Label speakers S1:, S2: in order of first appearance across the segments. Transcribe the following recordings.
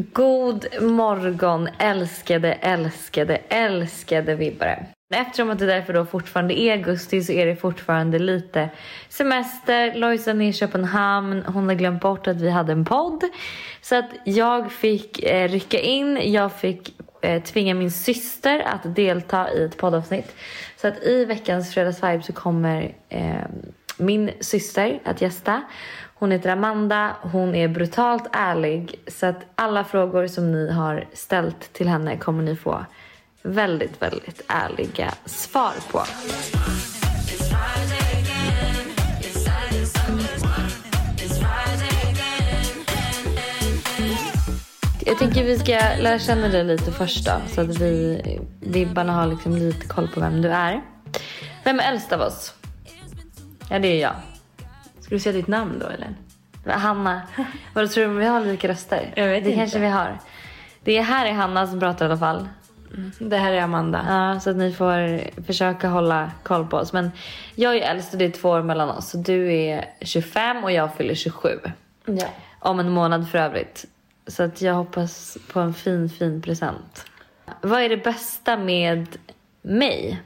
S1: God morgon älskade, älskade, älskade vibbare. Eftersom att det därför då fortfarande är augusti så är det fortfarande lite semester. Lojsan är i Köpenhamn, hon har glömt bort att vi hade en podd. Så att jag fick eh, rycka in, jag fick eh, tvinga min syster att delta i ett poddavsnitt. Så att i veckans Fredagsvibe så kommer eh, min syster att gästa. Hon heter Amanda, hon är brutalt ärlig. Så att alla frågor som ni har ställt till henne kommer ni få väldigt, väldigt ärliga svar på. Jag tänker vi ska lära känna dig lite först då, så att vi vibbarna har liksom lite koll på vem du är. Vem är äldst av oss? Ja, det är jag.
S2: Ska du säga ditt namn då eller?
S1: Hanna. Vad tror du om vi har lika röster?
S2: Jag vet
S1: det
S2: inte.
S1: kanske vi har. Det här är Hanna som pratar i alla fall.
S2: Mm, Det här är Amanda.
S1: Ja, så att ni får försöka hålla koll på oss. Men jag är äldst och det är två år mellan oss. Så du är 25 och jag fyller 27.
S2: Ja.
S1: Om en månad för övrigt. Så att jag hoppas på en fin, fin present. Vad är det bästa med mig?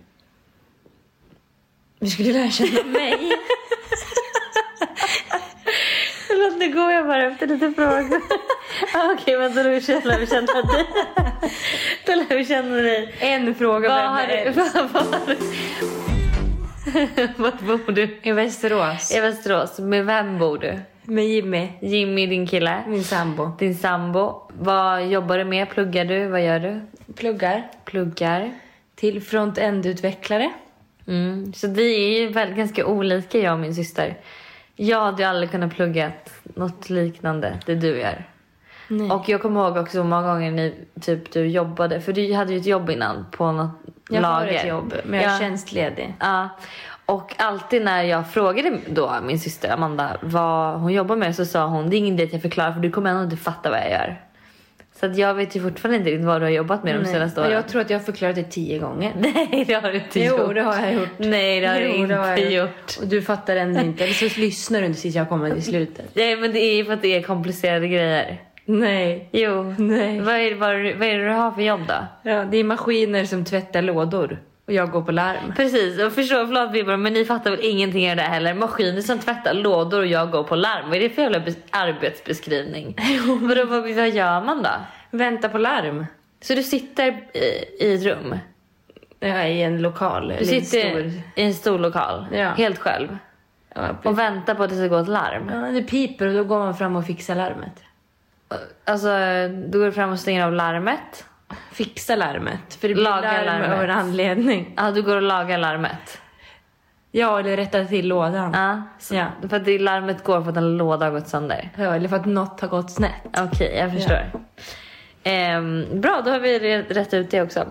S2: Vi skulle lära känna.
S1: Mig? Förlåt, nu går jag bara efter lite frågor. Ah, Okej, vänta nu lär vi känna dig. Då lär vi känna dig.
S2: En fråga
S1: Vad
S2: vem
S1: har
S2: är
S1: du...
S2: äldst?
S1: Vad har du... Var bor du?
S2: I Västerås.
S1: I Västerås. Med vem bor du?
S2: Med Jimmy.
S1: Jimmy, din kille?
S2: Min sambo.
S1: Din sambo? Vad jobbar du med? Pluggar du? Vad gör du?
S2: Pluggar.
S1: Pluggar?
S2: Till front-end-utvecklare.
S1: Mm. Så vi är ju väl, ganska olika jag och min syster. Jag hade ju aldrig kunnat plugga något liknande det du gör.
S2: Nej.
S1: Och jag kommer ihåg också hur många gånger ni, typ, du jobbade, för du hade ju ett jobb innan på något
S2: Jag
S1: lager.
S2: har ett jobb men jag är
S1: Ja.
S2: tjänstledig.
S1: Ja. Och alltid när jag frågade då min syster Amanda vad hon jobbar med så sa hon det är ingen idé att jag förklarar för du kommer ändå inte fatta vad jag gör. Så att jag vet ju fortfarande inte riktigt vad du har jobbat med de
S2: Nej.
S1: senaste
S2: Och
S1: åren.
S2: Jag tror att jag har förklarat det tio gånger.
S1: Nej det har du inte
S2: Jo,
S1: gjort.
S2: det har jag gjort.
S1: Nej det har du
S2: Jo,
S1: inte
S2: det har jag
S1: gjort.
S2: Och du fattar ändå inte. Eller så lyssnar du inte tills jag kommer till slutet.
S1: Nej men det är ju för att det är komplicerade grejer.
S2: Nej.
S1: Jo.
S2: Nej.
S1: Vad är, vad, vad är det du har för jobb då?
S2: Ja, det är maskiner som tvättar lådor. Och jag går på larm.
S1: Precis, och förstår, förlåt Wilbur men ni fattar väl ingenting av det här heller. Maskiner som tvättar lådor och jag går på larm. Vad är det för jävla bes- arbetsbeskrivning? Vadå, vad, vad gör man då?
S2: Vänta på larm.
S1: Så du sitter i, i ett rum?
S2: Ja, I en lokal.
S1: Du
S2: eller en
S1: sitter
S2: stor-
S1: i en stor lokal,
S2: Ja.
S1: helt själv
S2: Ja,
S1: och väntar på att det ska gå ett larm.
S2: Ja, det piper och då går man fram och fixar larmet.
S1: Alltså, du går fram och stänger av larmet.
S2: Fixa larmet, för det blir
S1: Laga
S2: larm
S1: larmet.
S2: av en anledning.
S1: Ja, du går och lagar larmet.
S2: Ja, eller rätta till lådan. Ja.
S1: Ja, så, För att det larmet går för att en låda har gått sönder.
S2: eller för att något har gått snett.
S1: Okej, jag förstår. Ehm, bra, då har vi re- rätt ut det också.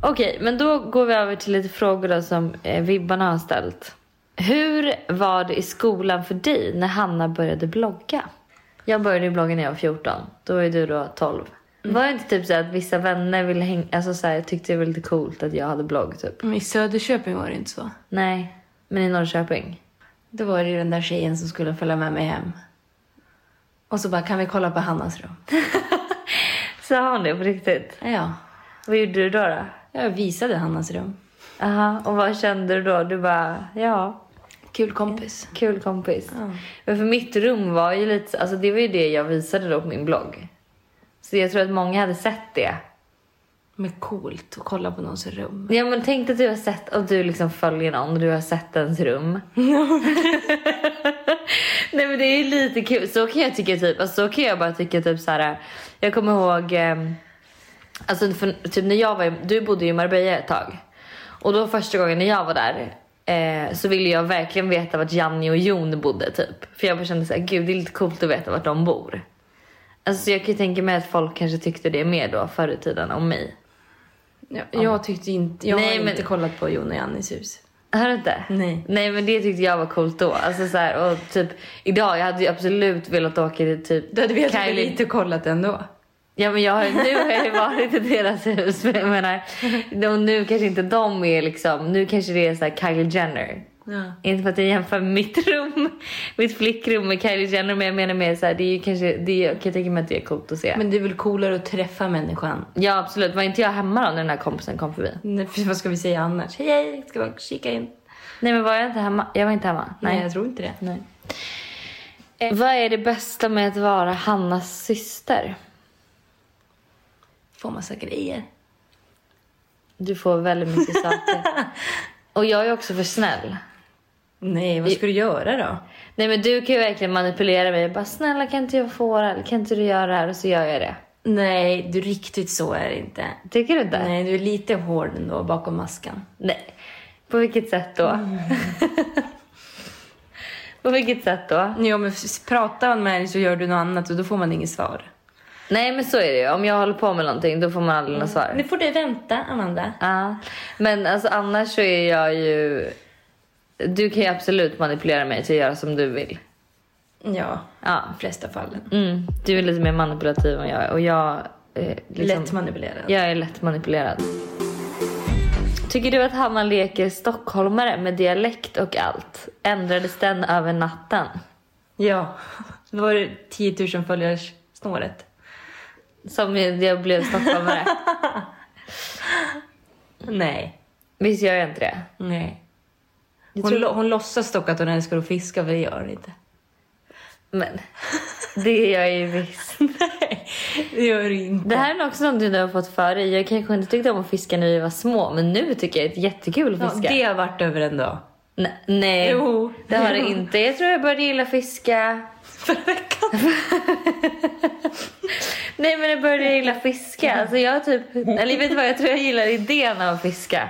S1: Okej, men då går vi över till lite frågor då som eh, vibbarna har ställt. Hur var det i skolan för dig när Hanna började blogga? Jag började ju blogga när jag var 14. Då var ju du då 12. Var det inte typ så här att vissa vänner ville häng- alltså så här, tyckte det var lite coolt att jag hade blogg typ?
S2: Men i Söderköping var det inte så.
S1: Nej, men i Norrköping?
S2: Då var det ju den där tjejen som skulle följa med mig hem. Och så bara, kan vi kolla på Hannas rum?
S1: Sa hon det på riktigt?
S2: Ja,
S1: Vad gjorde du då? då?
S2: jag visade Hannas rum.
S1: Aha, och vad kände du då? Du bara, ja,
S2: Kul kompis.
S1: kul kompis. Men för mitt rum var ju lite, så- alltså det var ju det jag visade då på min blogg. Så jag tror att många hade sett det.
S2: Men coolt att kolla på någons rum.
S1: Ja men tänk att du har sett, och du liksom följer någon och du har sett ens rum. Nej men det är ju lite kul, så kan jag tycka typ, alltså så kan jag bara tycka typ så här. jag kommer ihåg ehm, Alltså för, typ när jag var, i- du bodde ju i Marbella ett tag. Och då första gången när jag var där eh, så ville jag verkligen veta vart Janni och Jon bodde typ. För jag bara kände såhär, gud det är lite coolt att veta vart de bor. Alltså så jag kan ju tänka mig att folk kanske tyckte det mer då förr i tiden om mig.
S2: Ja, jag tyckte inte, jag
S1: Nej,
S2: har
S1: men-
S2: inte kollat på Jon och Jannis hus.
S1: Har du inte?
S2: Nej.
S1: Nej men det tyckte jag var coolt då. Alltså så här, och typ idag, jag hade ju absolut velat åka till typ
S2: Du hade velat lite och kollat ändå.
S1: Ja men jag har, nu har jag ju varit i deras hus. Men jag menar, de, nu kanske inte de är liksom, nu kanske det är så här Kylie Jenner.
S2: Ja.
S1: Inte för att jag jämför mitt rum mitt flickrum med Kylie Jenner. Men jag menar mer såhär, det är ju kanske, det är, jag kan tänka mig att det är coolt att se.
S2: Men det är väl coolare att träffa människan?
S1: Ja absolut, var inte jag hemma då när den här kompisen kom förbi?
S2: Nej, för Vad ska vi säga annars? Hej, hej, ska man kika in?
S1: Nej men var jag inte hemma? Jag var inte hemma.
S2: Nej,
S1: Nej.
S2: jag tror inte det.
S1: Nej. Eh, vad är det bästa med att vara Hannas syster?
S2: Får massa grejer.
S1: Du får väldigt mycket saker. Och jag är också för snäll.
S2: Nej, vad ska du göra då?
S1: Nej men du kan ju verkligen manipulera mig. Bara snälla kan inte jag få det här? Kan inte du göra det här? Och så gör jag det.
S2: Nej, du riktigt så är det inte.
S1: Tycker du inte?
S2: Nej, du är lite hård ändå bakom masken.
S1: Nej. På vilket sätt då?
S2: Mm.
S1: På vilket sätt då?
S2: Ja, men f- pratar man med dig så gör du något annat och då får man inget svar.
S1: Nej men så är det ju. Om jag håller på med någonting då får man aldrig något svar.
S2: Nu får du vänta, Amanda.
S1: Ja. Men alltså annars så är jag ju... Du kan ju absolut manipulera mig till att göra som du vill.
S2: Ja,
S1: Ja.
S2: i de flesta fallen.
S1: Mm. Du är lite mer manipulativ än jag är och jag... Eh, liksom,
S2: Lätt manipulerad.
S1: Jag är lätt manipulerad. Tycker du att Hanna leker stockholmare med dialekt och allt? Ändrades den över natten?
S2: Ja, det var det 10 000 följars snåret.
S1: Som jag blev stockholmare.
S2: Nej,
S1: Visst gör jag inte det?
S2: nej.
S1: Jag
S2: Hon,
S1: tror-
S2: lo- hon låtsas dock att hon älskar att fiska, för det gör hon inte.
S1: Men det gör jag ju visst.
S2: Nej, det gör hon inte.
S1: Det här är nog också någonting du har fått för dig. Jag kanske inte tyckte om att fiska när vi var små men nu tycker jag det är jättekul
S2: Ja,
S1: att fiska.
S2: det har varit över en dag.
S1: Ne- nej,
S2: Jo.
S1: det har det inte. Jag tror jag började gilla fiska
S2: Förra veckan.
S1: Nej men jag började gilla fiska. Alltså jag typ, eller vet du vad, jag tror jag gillar idén av att fiska.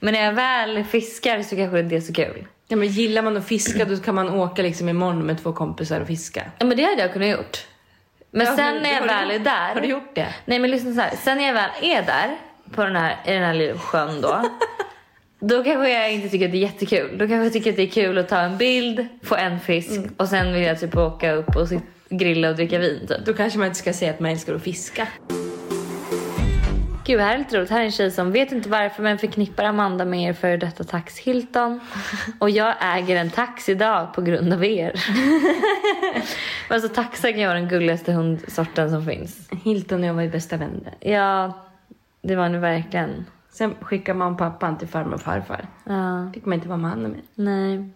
S1: Men när jag väl fiskar så kanske inte det är så kul.
S2: Ja, men gillar man att fiska då kan man åka liksom imorgon med två kompisar och fiska.
S1: Ja men det hade jag kunnat gjort. Men
S2: Ja,
S1: sen
S2: men
S1: när jag
S2: har du
S1: väl är
S2: gjort-
S1: där.
S2: Har du gjort det?
S1: Nej men lyssna så här. Sen när jag väl är där på den här, i den här lilla sjön då. då kanske jag inte tycker att det är jättekul. Då kanske jag tycker att det är kul att ta en bild, få en fisk och sen vill jag typ åka upp och sit- grilla och dricka vin typ.
S2: Då kanske man inte ska säga att man älskar att fiska.
S1: Gud, här är lite roligt. Här är en tjej som vet inte varför men förknippar Amanda med er före detta tax Hilton. Och jag äger en tax idag på grund av er. Men alltså taxar kan ju vara den gulligaste hundsorten som finns.
S2: Hilton och jag var ju bästa vänner.
S1: Ja, det var nu verkligen.
S2: Sen skickade man pappan till farmor och farfar.
S1: Ja,
S2: fick man inte vara med honom mer.
S1: nej.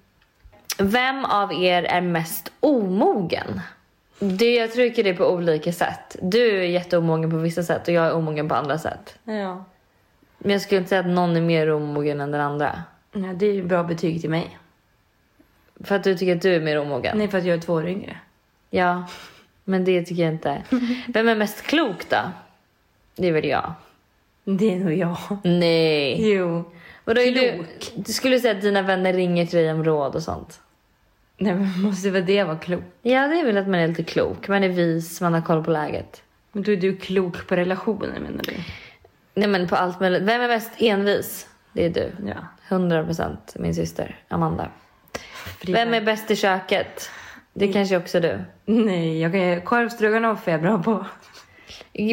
S1: Vem av er är mest omogen? Det, jag tycker det är på olika sätt. Du är jätteomogen på vissa sätt och jag är omogen på andra sätt.
S2: Ja.
S1: Men jag skulle inte säga att någon är mer omogen än den andra.
S2: ja. Det är ju bra betyg till mig.
S1: För att du tycker att du är mer omogen?
S2: Nej, för att jag är två år yngre.
S1: Ja, men det tycker jag inte. Vem är mest klok då? Det är väl jag.
S2: Det är nog jag.
S1: Nej.
S2: Jo.
S1: Vadå, är du, du skulle säga att dina vänner ringer till dig om råd och sånt?
S2: Nej, men måste väl det vara klok?
S1: Ja, det är väl att man är lite klok. Man är vis, man har koll på läget.
S2: Men då är du klok på relationer menar du?
S1: Nej men på allt möjligt. Vem är mest envis? Det är du.
S2: Ja.
S1: 100% min syster Amanda.
S2: Frida.
S1: Vem är bäst i köket?
S2: Mm.
S1: Det kanske också är du.
S2: Nej, jag kan ju... Korvstroganoff är jag bra på.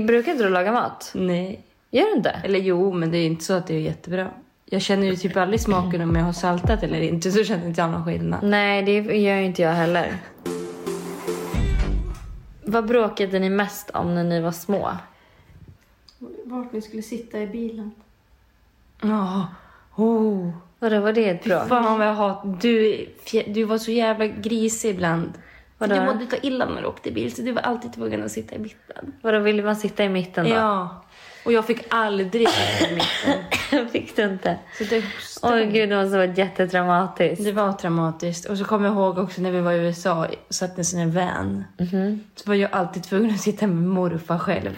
S1: Brukar inte du laga mat?
S2: Nej.
S1: Gör du inte?
S2: Eller jo, men det är inte så att det är jättebra. Jag känner ju typ aldrig smaken om jag har saltat eller inte, så känner inte jag någon skillnad.
S1: Nej, det gör ju inte jag heller. Vad bråkade ni mest om när ni var små?
S3: Vart vi skulle sitta i bilen.
S2: Ja. Oh.
S1: Vadå, var det ett bråk?
S2: Fan vad jag hatar... Du, fje- du var så jävla grisig ibland.
S1: Vadå?
S2: Du mådde ta illa när du åkte bil, så du var alltid tvungen att sitta i mitten.
S1: Vadå, ville man sitta i mitten då?
S2: Ja. Och jag fick aldrig sitta i mitten.
S1: Fick du inte?
S2: Så det,
S1: Åh gud, det måste ha varit jättetraumatiskt.
S2: det var traumatiskt. Och så kommer jag ihåg också när vi var i USA och satt i en sån här van. Så var jag alltid tvungen att sitta med morfar själv.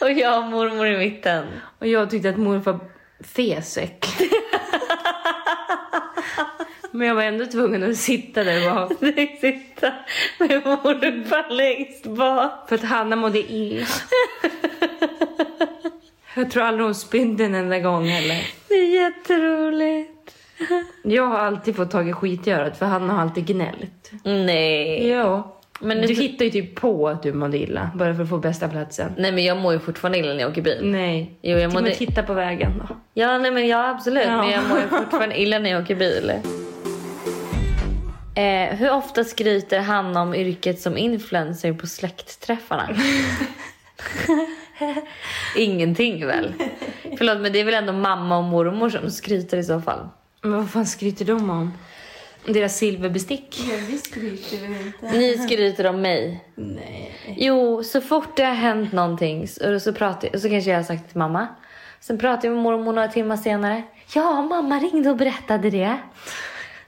S1: Och jag och mormor i mitten.
S2: Och jag tyckte att morfar fes så äckligt. Men jag var ändå tvungen att sitta där och vara...
S1: Du sitta med morfar längst bak.
S2: För att Hanna mådde illa. Jag tror aldrig hon spydde en enda gång heller.
S1: Det är jätteroligt.
S2: Jag har alltid fått tag i skit i örat för Hanna har alltid gnällt.
S1: Nej.
S2: Ja.
S1: Men
S2: Men
S1: nu-
S2: du hittar ju typ på att du mådde illa bara för att få bästa platsen.
S1: Nej men jag mår ju fortfarande illa när jag åker bil.
S2: Nej.
S1: Jo, jag
S2: Till och med
S1: mådde-
S2: titta på vägen då.
S1: Ja, nej men ja absolut.
S2: Ja.
S1: Men jag mår ju fortfarande illa när jag åker bil. Eh, hur ofta skryter Hanna om yrket som influencer på släktträffarna? Ingenting väl? Förlåt men det är väl ändå mamma och mormor som skryter i så fall.
S2: Men vad fan skryter de om? Deras silverbestick?
S3: Ja, vi skryter väl inte?
S1: Ni skryter om mig.
S3: Nej.
S1: Jo, så fort det har hänt någonting så, så, pratar, jag- så kanske jag har sagt till mamma. Sen pratar jag med mormor några timmar senare. Ja, mamma ringde och berättade det.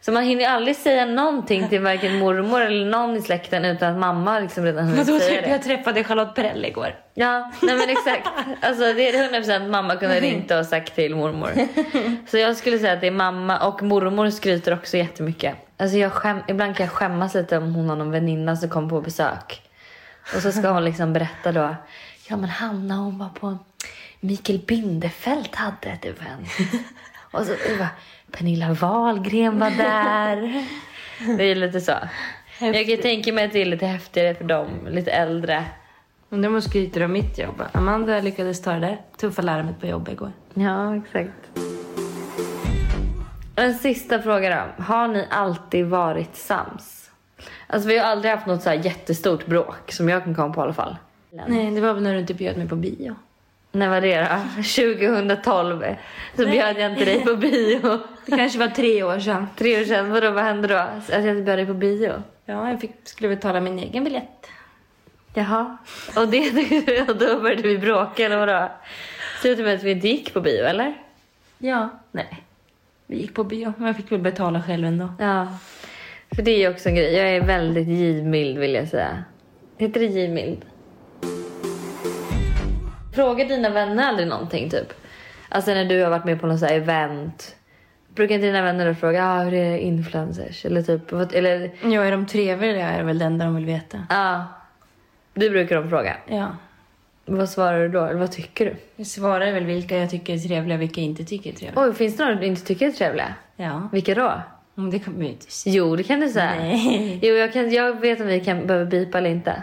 S1: Så man hinner ju aldrig säga någonting till varken mormor eller någon i släkten utan att mamma liksom redan hunnit
S2: Vadå,
S1: säga
S2: typ
S1: det.
S2: jag träffade Charlotte Perrelli igår.
S1: Ja, nej men exakt. Alltså det är 100% mamma kunde ha ringt och sagt till mormor. Så jag skulle säga att det är mamma och mormor skryter också jättemycket. Alltså jag skäm, ibland kan jag skämmas lite om hon har någon väninna som kom på besök. Och så ska hon liksom berätta då. Ja men Hanna hon var på Mikael Bindefeld hade ett event. Och så det var Pernilla Wahlgren var där. Det är lite så. Jag kan tänka mig att det är lite häftigare för dem lite äldre.
S2: Undrar om hon skryter om mitt jobb. Amanda lyckades ta det där tuffa larmet på jobbet igår.
S1: Ja, exakt. En sista fråga då. Har ni alltid varit sams? Alltså vi har aldrig haft något så här jättestort bråk som jag kan komma på i alla fall.
S2: Nej, det var väl när du inte bjöd mig på bio.
S1: När var det då? 2012. Så bjöd jag inte dig på bio.
S2: Det kanske var tre år sedan.
S1: Tre år sedan, vadå vad hände då? Alltså, Att jag inte bjöd dig på bio?
S2: Ja, jag fick, skulle betala min egen biljett.
S1: Jaha. Och, det, och då började vi bråka eller vadå? Slutade med att vi inte gick på bio eller?
S2: Ja,
S1: Nej.
S2: vi gick på bio, men jag fick väl betala själv ändå.
S1: Ja. För det är ju också en grej. Jag är väldigt givmild vill jag säga. Heter det givmild? Frågar dina vänner aldrig någonting typ? Alltså när du har varit med på något så här event. Brukar inte dina vänner då fråga ah, hur är det influencers? Eller typ, vad- eller
S2: Ja, är de trevliga är det väl det enda de vill veta.
S1: ja. Du brukar de fråga.
S2: Ja.
S1: Vad svarar du då? Eller vad tycker du?
S2: Jag svarar väl vilka jag tycker är trevliga och vilka jag inte tycker är trevliga.
S1: Oj, finns det några du inte tycker är trevliga?
S2: Ja,
S1: Vilka då?
S2: men Mm, det kommer ju inte säga.
S1: Jo, det kan du säga.
S2: Nej.
S1: Jo, jag, kan, jag vet om vi kan, behöver bipa eller inte.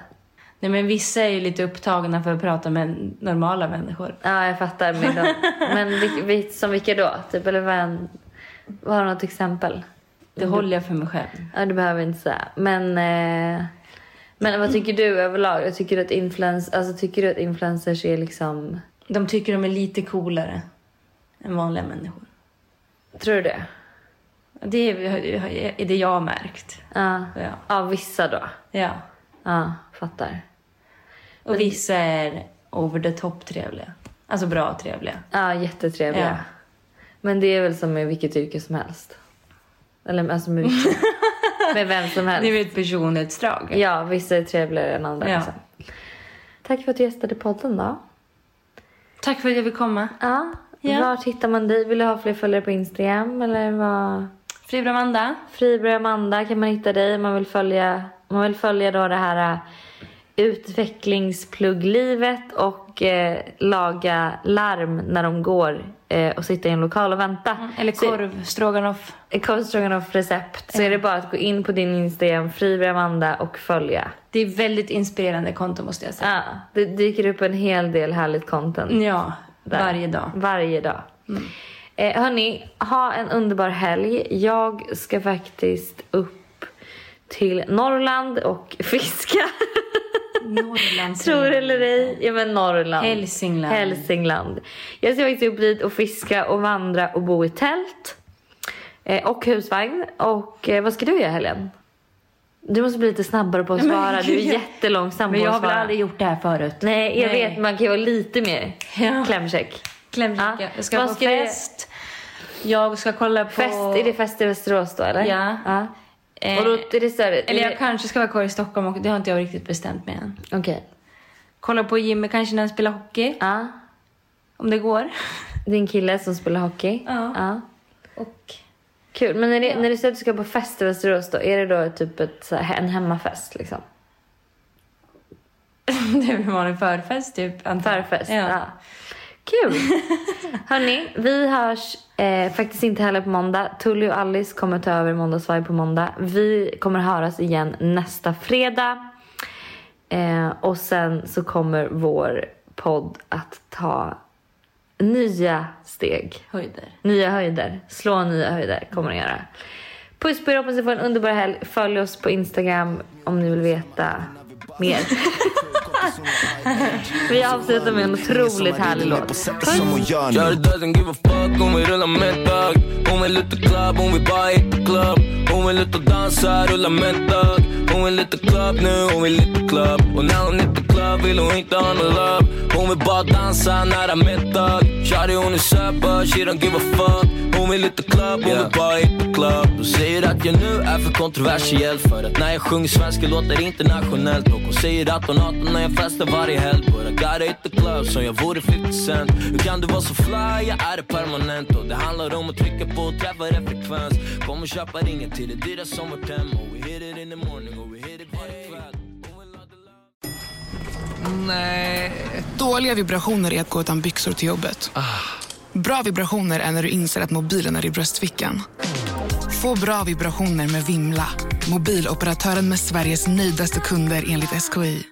S2: Nej, men vissa är ju lite upptagna för att prata med normala människor.
S1: Ja, jag fattar. Men, de, men vil, vil, som vilka då? Typ, eller vad, en- vad har du något exempel?
S2: Det håller jag för mig själv.
S1: Ja, det behöver vi inte säga. Men, eh, men vad tycker du överlag? Jag tycker, du att influens, alltså, tycker du att influencers är liksom...
S2: De tycker de är lite coolare än vanliga människor.
S1: Tror du det?
S2: Det är, är det jag har märkt.
S1: Ja,
S2: Ja.
S1: ja vissa då.
S2: ja.
S1: Ja, fattar.
S2: Och vissa är over the top trevliga. Alltså bra trevliga.
S1: Ja, jättetrevliga.
S2: Ja.
S1: Men det är väl som med vilket yrke som helst. Eller alltså med, vilket, med vem som
S2: Det är
S1: helst.
S2: väl ett personlighetsdrag.
S1: Ja, vissa är trevligare än andra.
S2: Ja.
S1: Liksom. Tack för att du gästade podden då.
S2: Tack för att jag fick komma.
S1: Ja.
S2: Ja.
S1: Vart hittar man dig? Vill du ha fler följare på Instagram? Eller vad?
S2: Fribra Amanda.
S1: Friberg Amanda kan man hitta dig. Man vill följa, man vill följa då det här äh, utvecklingsplugglivet och eh, laga larm när de går eh, och sitta i en lokal och vänta.
S2: Mm, Eller
S1: Så-
S2: korv, stroganoff.
S1: korvstroganoff recept så är det bara att gå in på din Instagram, Friberg Amanda och följa.
S2: Det är väldigt inspirerande konto måste jag säga.
S1: Ja, det dyker upp en hel del härligt content.
S2: Ja,
S1: Där.
S2: varje dag. Mm.
S1: Varje dag. Eh, hörni, ha en underbar helg. Jag ska faktiskt upp till Norrland och fiska.
S2: Norrland.
S1: Tror eller ej. Ja men Norrland.
S2: Mm. Hälsingland.
S1: Hälsingland. Jag ska faktiskt upp dit och fiska och vandra och bo i tält. Eh, och husvagn. Och eh, vad ska du göra i helgen? Du måste bli lite snabbare på att
S2: Men
S1: svara. Du är
S2: gud, jag-
S1: jättelångsam
S2: Men
S1: på
S2: jag
S1: att
S2: har väl
S1: svara.
S2: aldrig gjort det här förut.
S1: Nej, jag
S2: Nej.
S1: vet. Man kan ju vara lite mer
S2: Ja.
S1: klämkäck.
S2: Klämkäcka.
S1: Ja.
S2: Jag ska
S1: Vad
S2: på
S1: ska du-
S2: fest. Jag ska kolla på...
S1: Fest, är det fest i Västerås då eller?
S2: Ja.
S1: ja.
S2: Eh,
S1: och då är det större?
S2: Eller jag kanske ska vara kvar i Stockholm och det har inte jag riktigt bestämt mig än.
S1: Okej.
S2: Kolla på Jimmy kanske när han spelar hockey.
S1: Ja.
S2: Om det går.
S1: Din kille som spelar hockey?
S2: Ja. Och...
S1: Kul. Men när, det, när du säger att du ska på fest i Västerås då, är det då typ ett, så här, en hemmafest liksom?
S2: det blir bara en förfest typ. antar jag.
S1: Förfest?
S2: Ja.
S1: Kul! Hörni, vi hörs eh, faktiskt inte heller på måndag. Tully och Alice kommer ta över Måndagsvibe på måndag. Vi kommer höras igen nästa fredag. Eh, och sen så kommer vår podd att ta nya steg.
S2: Höjder.
S1: Nya höjder. Slå nya höjder kommer den göra. Puss på er, hoppas ni får en underbar helg. Följ oss på Instagram om ni vill veta mer. Vi avslutar med en otroligt härlig låt. Puss!
S4: Shawty doesn't give a fuck om vi rullar med tag Hon vill ut och club, hon vill bara hit the club Hon vill ut och dansa, rulla med tag Hon vill ut och club nu, hon vill hit the club Och när hon hit the club vill hon inte ha någon love Hon vill bara dansa nära med tag Shawty hon är söpad, she don't give a fuck Hon vill ut och club, hon vill bara hit the club Hon säger att jag nu är för kontroversiell För att när jag sjunger svenska låter det internationellt Och hon säger att hon hatar när jag festar varje helg But I gotta hit the club som jag vore 50 cent Hur kan du vara så fly? Jag är det permanent Och det handlar om att trycka på och träffa rätt frekvens Kom och köpa ringen till det dyra som vårt hem Och we hit it in the morning och we hit it varje kväll
S5: Dåliga vibrationer är att gå utan byxor till jobbet. Bra vibrationer är när du inser att mobilen är i bröstfickan. Få bra vibrationer med Vimla. Mobiloperatören med Sveriges nöjdaste kunder enligt SKI.